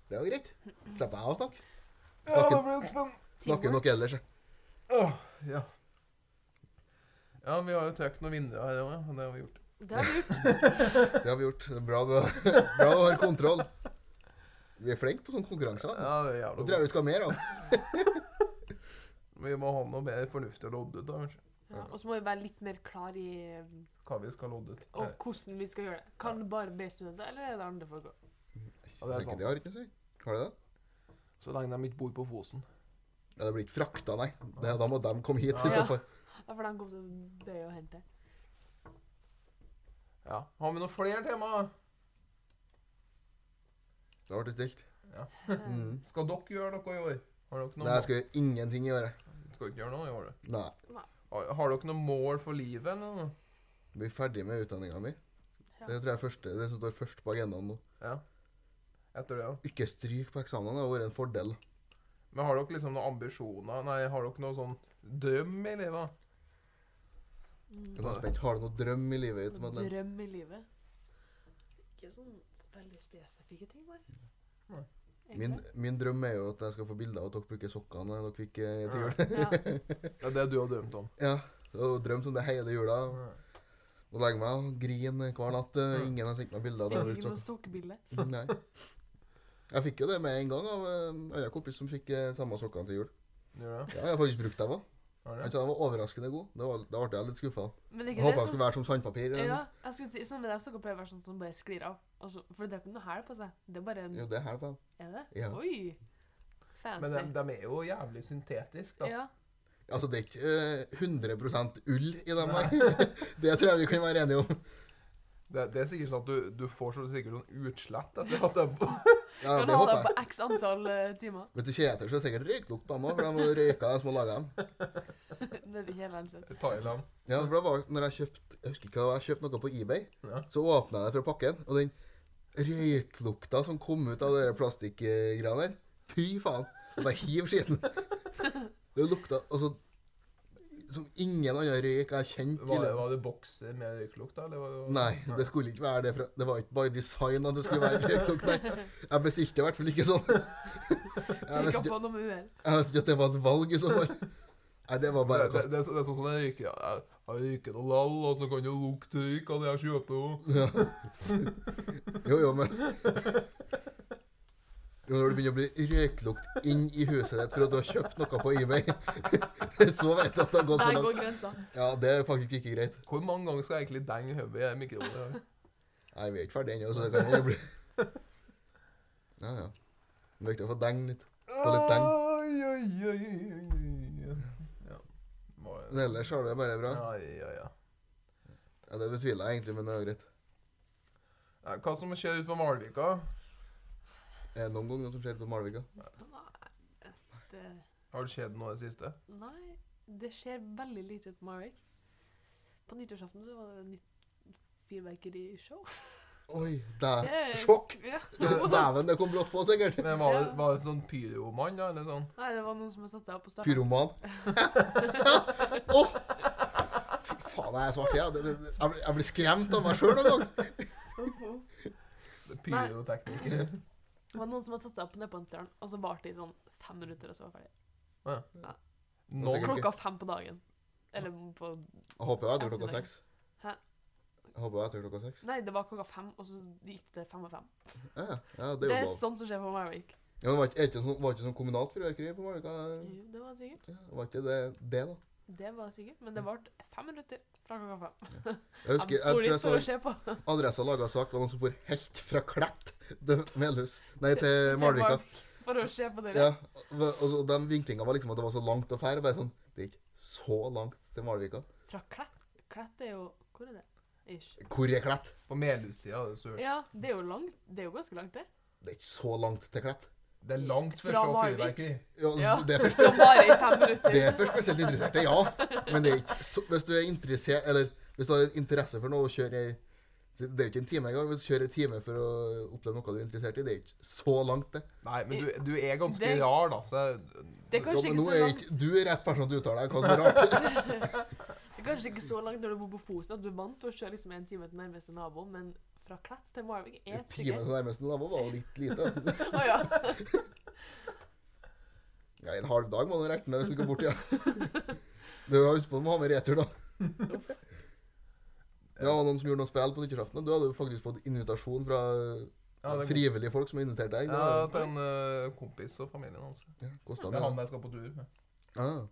B: Det er jo greit. Slipper jeg å snakke. Snakker-
A: blir spennende.
B: Snakker nok ellers. jeg.
A: Åh, ja. ja, vi har jo trukket noen vinduer her òg, og det har vi gjort.
C: Det har vi gjort.
B: Det har vi gjort. Det er Bra du, bra du har kontroll. Vi er flinke på sånne konkurranser.
A: Ja, det er
B: Nå
A: jævla
B: tror jeg
A: bra.
B: vi skal ha mer av.
A: Vi må ha noe mer fornuftig å lodde ut, da, kanskje.
C: Ja. Og så må vi være litt mer klar i um,
A: Hva vi skal lodde ut.
C: og hvordan vi skal gjøre det. Kan det bare B-studenter, eller er det andre folk òg?
A: Ja, det er sant.
B: Det har ikke noe å si. Har det det?
A: Så lenge de ikke bor på Fosen.
B: Ja, det blir ikke frakta, nei. Det, da må de komme hit i
A: Ja.
B: så fall.
C: Ja, for de kom til å dø og hente.
A: Ja. Har vi noen flere temaer?
B: Da ble det stilt.
C: Mm.
B: Mm.
A: Skal dere gjøre noe i år? Har dere noe
B: Nei, jeg skal gjøre ingenting i året.
A: Skal ikke gjøre noe i år? du?
B: Nei.
A: Har, har dere noe mål for livet, eller noe?
B: Bli ferdig med utdanninga mi.
C: Ja.
B: Det tror jeg er første, det som står først på agendaen nå.
A: Ja. Etter det, ja.
B: Ikke stryk på eksamen. Det har vært en fordel.
A: Men har dere liksom noen ambisjoner? Nei, har dere noe sånn drøm i livet?
B: Jeg er spent. Har du noen drøm i livet ditt? Madeleine?
C: Mm. Drøm i livet. Ikke sånn veldig spesifikke ting, bare.
A: Nei.
C: Egentlig.
B: Min, min drøm er jo at jeg skal få bilder av at dere bruker sokkene når dere fikk eh, til jul.
C: Ja.
A: Det er det du har drømt om.
B: Ja. Jeg har drømt om det hele jula.
A: Nei,
B: Nå legger jeg meg og griner hver natt. eh, Ingen har sendt meg bilder av det. jeg har sånn.
C: Ikke
B: brukt
C: noe
B: sokker.
C: sokkebilde.
B: Nei. Jeg fikk jo det med en gang av eh, en annen kompis som fikk eh, samme sokkene til jul.
A: Gjør det?
B: Ja, jeg har faktisk brukt dem òg.
A: Har
B: Han
A: det?
B: sa den var overraskende god. Det var, da ble jeg litt skuffa.
C: Men er
B: Håpa
C: ikke
B: den skulle
C: det
B: være som sandpapir. eller
C: Ja,
B: noe.
C: jeg skulle si, sånn med deg sokker pleier å være sånn som bare sklir av. Og så- for det er ikke noe hæl på seg. Det er bare en
B: Jo, det er her på.
C: Er det?
B: Ja. eh,
C: Oi! Fancy.
A: Men de, de er jo jævlig syntetiske, da.
C: Altså. ja.
B: Altså, det er ikke eh, 100 ull i dem der. det tror jeg vi kan være enige om.
A: Det, det er sikkert sånn at du, du får så sikkert sånn utslett etter at de
B: Ja,
C: kan
B: det
C: ha
B: håper
C: det
B: jeg.
C: på x antall eh, timer.
B: Vet du, Kjetil så er det sikkert røyklukt på dem òg, for de har røyka dem som har laga dem.
C: Nede i kjelleren sin.
A: Thailand.
B: Ja, det var når jeg kjøpte Jeg husker ikke hva, det var, jeg kjøpte noe på eBay.
A: Ja.
B: Så åpna jeg det fra pakken, og den røyklukta som kom ut av de der plastikkgreiene der Fy faen! Jeg bare hiv skitten. Det lukta Altså som ingen annen røyk jeg har kjent. i
A: Var det,
B: livet.
A: var det bokser med røyklukt, da? Eller var det,
B: Nei, det skulle ikke være det. Fra, det var ikke by design at det skulle være røyksopp. Nei, jeg bestilte i hvert fall ikke sånn. Jeg
C: Trykka
B: visste ikke,
C: på noe med uhell.
B: jeg visste ikke at det var et valg i så fall. Nei, det var
A: det,
B: bare å
A: det,
B: kaste.
A: det, er så- det er sånn som jeg røyker. Jeg, jeg røyker noe lall, og så kan det lukte røyk av det jeg kjøper òg.
B: Ja. Jo, jo, men jo, Når det begynner å bli røyklukt inn i huset ditt for at du har kjøpt noe på eBay, så vet du at det har gått for
C: Der
B: langt.
C: går grensa.
B: Ja, det er faktisk ikke greit.
A: Hvor mange ganger skal jeg egentlig denge hodet i en mikroovn? her?
B: Nei, vi er ikke ferdig ennå, så det kan hende det blir Ja, ja. Men Det er viktig å få deng litt. Få litt deng.
A: Oi, oi, oi, oi, oi. Ja. Var-
B: Men ellers har det bare bra.
A: Ja, ja, ja.
B: Ja, Det betviler jeg egentlig, men det er jo greit.
A: Nei, Hva som skjer ute på Malvika?
B: Er det Eh, noen gang noe som skjer på Malvika?
C: Det,
A: Har det skjedd noe i det siste?
C: nei, det skjer veldig lite på Marek. På nyttårsaften så var det nytt fyrverkerishow.
B: Oi, der.
C: Det er-
B: Sjokk!
C: Ja.
B: Dæven, det kom brått på, sikkert.
A: Men var det,
C: Ja.
A: var det sånn pyromann, da? Eller sånn?
C: Nei, det var noen som har satt seg opp og starta.
B: Pyroman. Åh! Fy faen, jeg er svart. Ja. Det, det, jeg blir- jeg blir skremt av meg sjøl noen gang.
A: Pyrotekniker?
C: Det var noen som hadde satt seg opp nede på Enteren, og så varte det i sånn fem minutter, og så var det ferdig.
A: Nå
B: Sikkert.
C: Klokka fem på dagen. Eller på
B: Jeg håper jeg er etter klokka seks.
C: Hæ?
B: Jeg håper jeg er etter klokka seks.
C: Nei, det var klokka fem, og så gikk det fem og fem.
B: Ja, ja, ja,
C: Det
B: det er
C: er
B: jo lov.
C: sånt som skjer på Marek.
B: Ja, men var ikke, er ikke sånn, var ikke sånn kommunalt fyrverkeri på Malvika?
C: Jo, det var sikkert.
B: Ja, Var ikke det det, da?
C: Det var sikkert, men det varte fem minutter fra klokka fem.
B: Mm. Jeg husker, jeg
C: for
B: tror
C: litt
B: jeg så
C: for å se på.
B: Adressa laga sak var noen som for helt fra Klett til Melhus. Nei, til
C: til
B: Malvika.
C: For å se på dere.
B: Ja, og og så den vinklinga var liksom at det var så langt å fære. Bare sånn, det er ikke så langt til Malvika.
C: Fra Klett. Klett er jo Hvor er det? Ish.
B: Hvor er Klett?
A: På Melhustida er det sørs.
C: Ja, det er jo langt. Det er jo ganske langt, det.
B: Det er ikke så langt til Klett.
A: Det er langt
C: Fra
A: først og
C: Malvik.
A: fyrverkeri.
B: Ja,
C: Ja.
B: Det, er for,
C: Som varer i fem minutter.
B: det er for spesielt interesserte, ja. Men det er ikke så, hvis du er interessert, eller hvis du har interesse for noe og kjører ei Det er jo ikke en time engang. Hvis du kjører en time for å oppleve noe du er interessert i, det er ikke så langt, det.
A: Nei, men du, du er ganske
C: Det-
A: rar, da. Så jeg,
C: Det er kanskje
B: Ja, men
C: ikke
B: nå
C: så
B: er
C: langt.
B: ikke du er rett person til å uttale deg hva som er rart.
C: Det er kanskje ikke så langt når du bor på Fosen at du er vant til å kjøre liksom en time til nærmeste nabo, men fra Klett til Marvik er
B: En
C: et
B: time
C: stykke.
B: til nærmeste nabo var jo litt lite.
C: Å ja.
B: sånn. Ja, en halv dag må du regne med hvis du går bort, ja. Du har husk på du må ha med retur, da.
C: Uff.
B: Ja, og noen som gjorde noe spill på nyttårsaften. og Du hadde jo faktisk fått invitasjon fra
A: ja, det er god.
B: frivillige folk som har invitert deg. Det
A: Ja,
B: var-
A: til en eh, kompis og familien hans.
B: ja, kostet
A: Det er han
B: meg.
A: jeg skal på tur med.
B: Ja.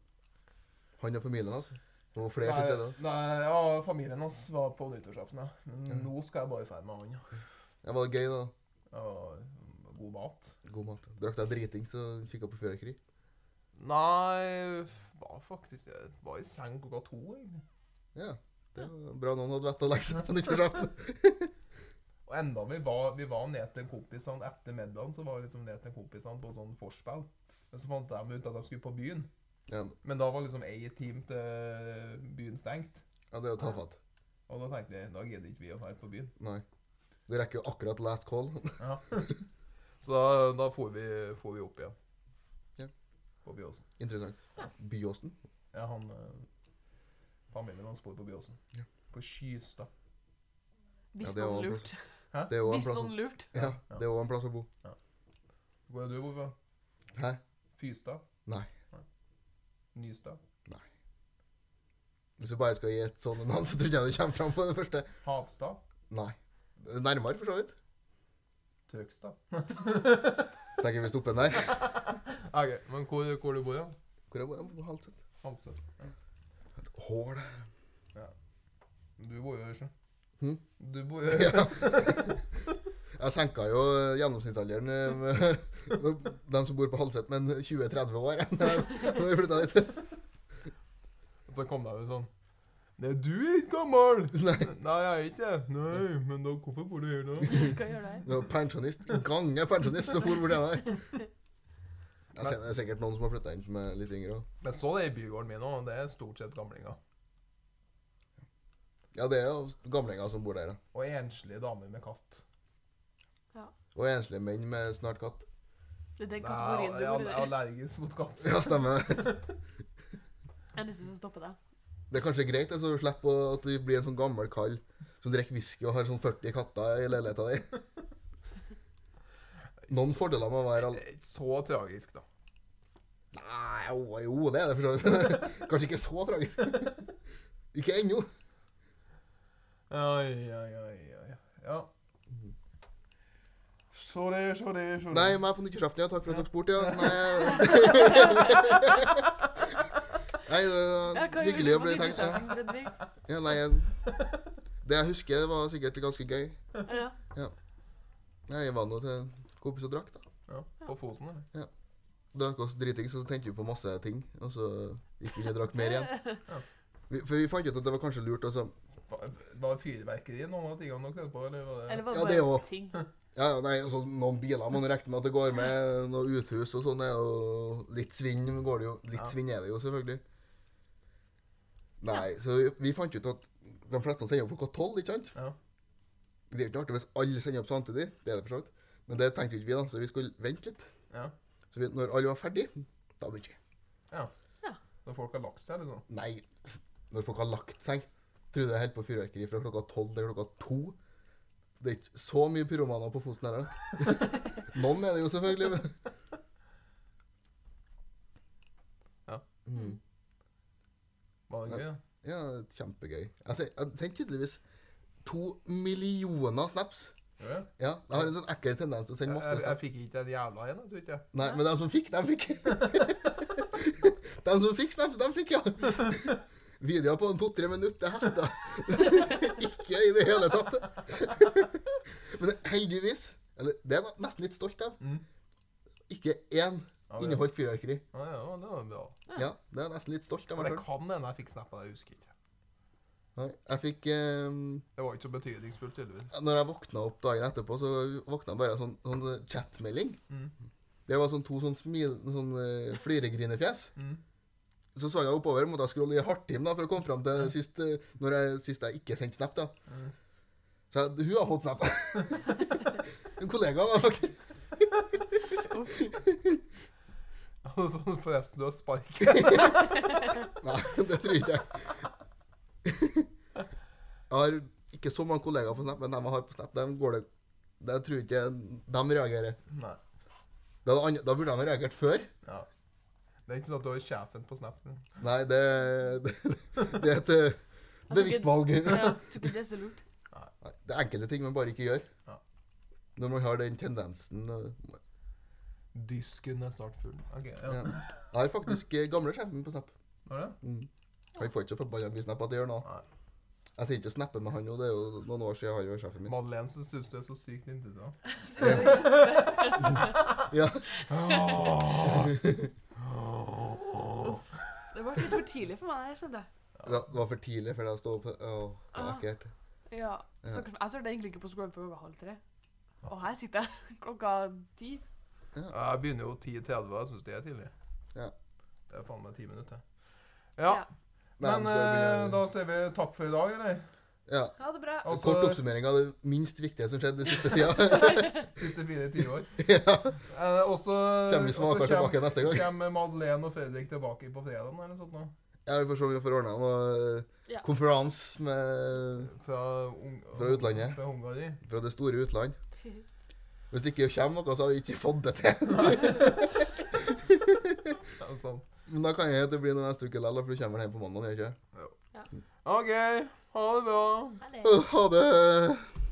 B: Han og familien hans. Det var flere til
A: Nei,
B: stede.
A: nei, ja, familien hans var på nyttårsaften, ja. Men nå skal jeg bare dra med han. ja.
B: Det var gøy, da.
A: Og god mat.
B: God mat. Drakk deg driting, så kikka på fyrverkeri.
A: Nei, var faktisk Jeg var i seng klokka to, egentlig.
B: Ja. Det var bra noen hadde vett til å legge seg på nyttårsaften.
A: Og enda vi var, vi var ned til kompisene etter middagen, så var vi liksom ned til kompisene på sånn forspill. Men så fant de ut at de skulle på byen.
B: Ja,
A: Men da var liksom ei time til byen stengt.
B: ja, det er jo tafatt.
A: Og da tenkte jeg da gidder ikke vi å dra på byen.
B: Nei. Du rekker jo akkurat last call.
A: Ja. Så da, da får, vi, får vi opp igjen.
B: Ja.
A: På Byåsen.
B: Interessant. Byåsen.
A: Ja, han eh, Familien hans bor på Byåsen.
B: Ja.
A: På Skystad.
C: Hvis
B: Ja, det var
C: noen
B: bra.
C: lurte.
B: Det er jo en sånn.
C: Hvis
B: plass
C: noen
B: å-
C: lurte.
B: ja, det er jo en plass å bo.
A: Hvor er du bor fra?
B: Hæ?
A: Fystad?
B: Nei.
A: Nystad?
B: Hvis du bare skal gi et sånt navn, så tror jeg ikke det kommer fram på det første.
A: Havstad?
B: Nei. Nærmere, for så vidt.
A: Trøgstad?
B: Tenker vi stopper den der.
A: OK, men hvor, hvor du bor du?
B: Hvor er jeg på Halset?
A: Hamset?
B: Hål.
A: Du bor jo her, ikke
B: Hm?
A: Du bor jo
B: Ja. Jeg senka jo gjennomsnittsalderen eh, med med dem som bor på Halset, med en 20-30 år jeg, når vi flytta dit.
A: Og så kom de jo sånn Nei, du er ikke gammel!
B: Nei.
A: Nei, jeg er ikke det. Nei, men da, hvorfor bor du her da?
C: Hva gjør det her?
B: Det var pensjonist. Gange pensjonist som bor borti der. Jeg ser, det er sikkert noen som har flytta inn som er litt yngre òg.
A: Men så det i bygården min òg. Det er stort sett gamlinger.
B: Ja, det er jo gamlinger som bor der, ja.
A: Og enslige damer med katt.
B: Og enslige menn med snart katt.
C: Det er den
A: Nei,
C: kategorien du
A: jeg
C: bor
A: er
C: i.
A: allergisk mot katt.
B: Ja, stemmer det.
C: Jeg er nesten som stopper deg.
B: Det er kanskje greit altså, å slippe å- at du blir en sånn gammel kall som drikker whisky og har sånn 40 katter i leiligheta di. Noen fordeler med å være
A: Det
B: al...
A: er ikke så tragisk, da.
B: Nei, jo, jo, det er det for så vidt. Kanskje ikke så tragisk. Ikke ennå.
A: Oi, oi, oi, oi. Ja. Se det, se det, se det.
B: Nei, meg på nyttårsaften, ja. Takk for at dere spurte, ja. Nei, nei det
C: Ja, hva
B: var
C: gjorde
B: hyggelig
C: du
B: å
C: på
B: bli tenkt, ja.
C: nyttårsaften, Fredrik?
B: ja. Nei, jeg- det jeg husker, var sikkert ganske gøy.
C: Ja.
B: Nei, Jeg var nå til kompis og drakk, da.
A: Ja, på Fosen, eller?
B: drakk oss driting, så tenkte vi på masse ting. Og så gikk vi inn og drakk mer igjen.
A: Ja.
B: Vi, for vi fant ut at det var kanskje lurt. Altså.
A: Var, var fyrverkeri noen av tingene dere prøvde på, eller var det
C: Eller var
B: Ja,
C: det
B: det
C: bare
B: også.
C: ting?
B: Ja, ja, nei, altså, noen biler må regne med at det går med. Noen uthus og sånn. er jo- Litt svinn går det jo. Litt
A: Ja.
B: svinn er det jo, selvfølgelig. Nei, så vi, vi fant ut at de fleste sender opp klokka tolv, ikke sant?
A: Ja.
B: Det er jo ikke artig hvis alle sender opp samtidig. Det er det for så vidt. Men det tenkte jo ikke vi, da, så vi skulle vente litt.
A: Ja.
B: Så vi, når alle var ferdig, da begynte vi.
A: Når folk har lagt seg, eller sånn?
B: Nei, når folk har lagt seg. Tror du det er helt på fyrverkeri fra klokka tolv til klokka to? Det er ikke så mye pyromaner på Fosen heller. Noen er det jo selvfølgelig, men
A: Ja.
B: Mm.
A: Var det gøy? da?
B: Ja, kjempegøy. Altså, Jeg sen- jeg sendte tydeligvis to millioner snaps.
A: Gjorde det?
B: Ja, jeg har en sånn ekkel tendens til å sende
A: Jeg,
B: masse
A: jeg, jeg
B: snaps.
A: fikk ikke en jævla en, jeg tror ikke jeg.
B: Nei, men de som fikk, de fikk. de som fikk snaps, de fikk, ja. Videoer på en to-tre minutter hefta. Ikke i det hele tatt. Men heldigvis, eller det er jeg nesten litt stolt av,
A: Mm.
B: ikke én
A: Ja, det-
B: inneholdt fyrverkeri.
A: Ja, ja, det var bra.
B: Ja, det er jeg nesten litt stolt av
A: Men
B: meg
A: det
B: sjøl.
A: kan hende jeg fikk snappa det, jeg husker ikke.
B: Jeg fikk eh,
A: Det var ikke så betydningsfullt, tydeligvis.
B: Når jeg våkna opp dagen etterpå, så våkna jeg bare av sånn, sånn chatmelding.
A: Mm.
B: Det var sånn to sånn, smil, sånn eh, fliregrinefjes.
A: Mm.
B: Så så jeg oppover, måtte jeg scrolle i hardtim da, for å komme fram til sist, eh, når jeg, sist jeg ikke sendte snap. da.
A: Mm.
B: Så jeg, hun har fått snap. en kollega av meg, faktisk.
A: Og sånn, forresten, du har sparket.
B: Nei, det tror jeg ikke. jeg. Jeg har ikke så mange kollegaer på snap, men dem jeg har på snap, dem går det Det tror jeg ikke de reagerer.
A: Nei.
B: Da, hadde andre- da burde de ha reagert før.
A: Ja. Det er ikke sånn at du har sjefen på snapen.
B: Nei, det, det, det er et eh, bevisst valg.
C: Altså, Ja, jeg tror ikke det er så lurt.
B: Nei, Det er enkelte ting man bare ikke gjør.
A: Ja.
B: Når man har den tendensen eh,
A: Disken er snart full. Ok, ja.
B: ja. Jeg har faktisk eh, gamle sjefen på snap.
A: Var det?
B: Mm. Han får ikke så forbanna mye snap at jeg gjør nå.
A: Nei.
B: Jeg sier ikke å snappe med han nå, det er jo noen år siden han var sjefen min.
A: Madeleine som syns du er så sykt interessant.
C: Så det er ikke så-
B: Ja,
C: Det var litt for tidlig for meg, jeg skjønner.
B: Det var for tidlig for deg å stå opp. Åh, det er
C: Ah.
B: ekkelt.
C: Ja, stakkars. Jeg startet egentlig ikke på skolen før klokka halv tre. Og her sitter jeg klokka ti.
A: Jeg begynner jo 10.30, jeg syns det er tidlig.
B: Ja.
A: Det er faen meg ti minutter. Ja,
C: Ja.
B: Nei,
A: men
B: men skal jeg
A: eh,
B: begynne-
A: da sier vi takk for i dag, eller?
B: Ja.
C: Ha det bra.
A: Altså-
B: Kort oppsummering av det minst viktige som skjedde den siste tida.
A: Siste fire tiår.
B: ja.
A: Eh, og så
B: Kommer vi
A: og så
B: smakere tilbake neste gang?
A: Kommer Madeleine og Fredrik tilbake på fredagen eller sånt nå?
B: Ja, Vi får se om vi får ordna noe eh,
C: Ja.
B: konferanse med,
A: Fra, Ung-
B: Fra utlandet.
A: Fra Hungary.
B: fra det store utland. Hvis ikke det kommer noe, så har vi ikke fått det til.
A: Ja, sant.
B: Men da kan jeg at det blir noe neste uke likevel, for du kommer vel hjem på mandag? gjør du ikke?
A: OK, ha det bra.
C: Ha det.
B: Åh, Ha det!